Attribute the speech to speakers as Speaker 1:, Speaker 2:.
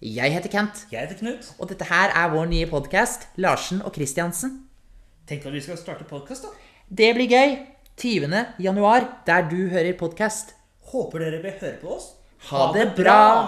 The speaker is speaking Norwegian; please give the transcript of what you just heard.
Speaker 1: Jeg heter Kent,
Speaker 2: Jeg heter Knut.
Speaker 1: og dette her er vår nye podkast, Larsen og Christiansen.
Speaker 2: Tenk at vi skal starte podkast, da.
Speaker 1: Det blir gøy! 20. januar, der du hører podkast.
Speaker 2: Håper dere vil høre på oss.
Speaker 1: Ha det bra!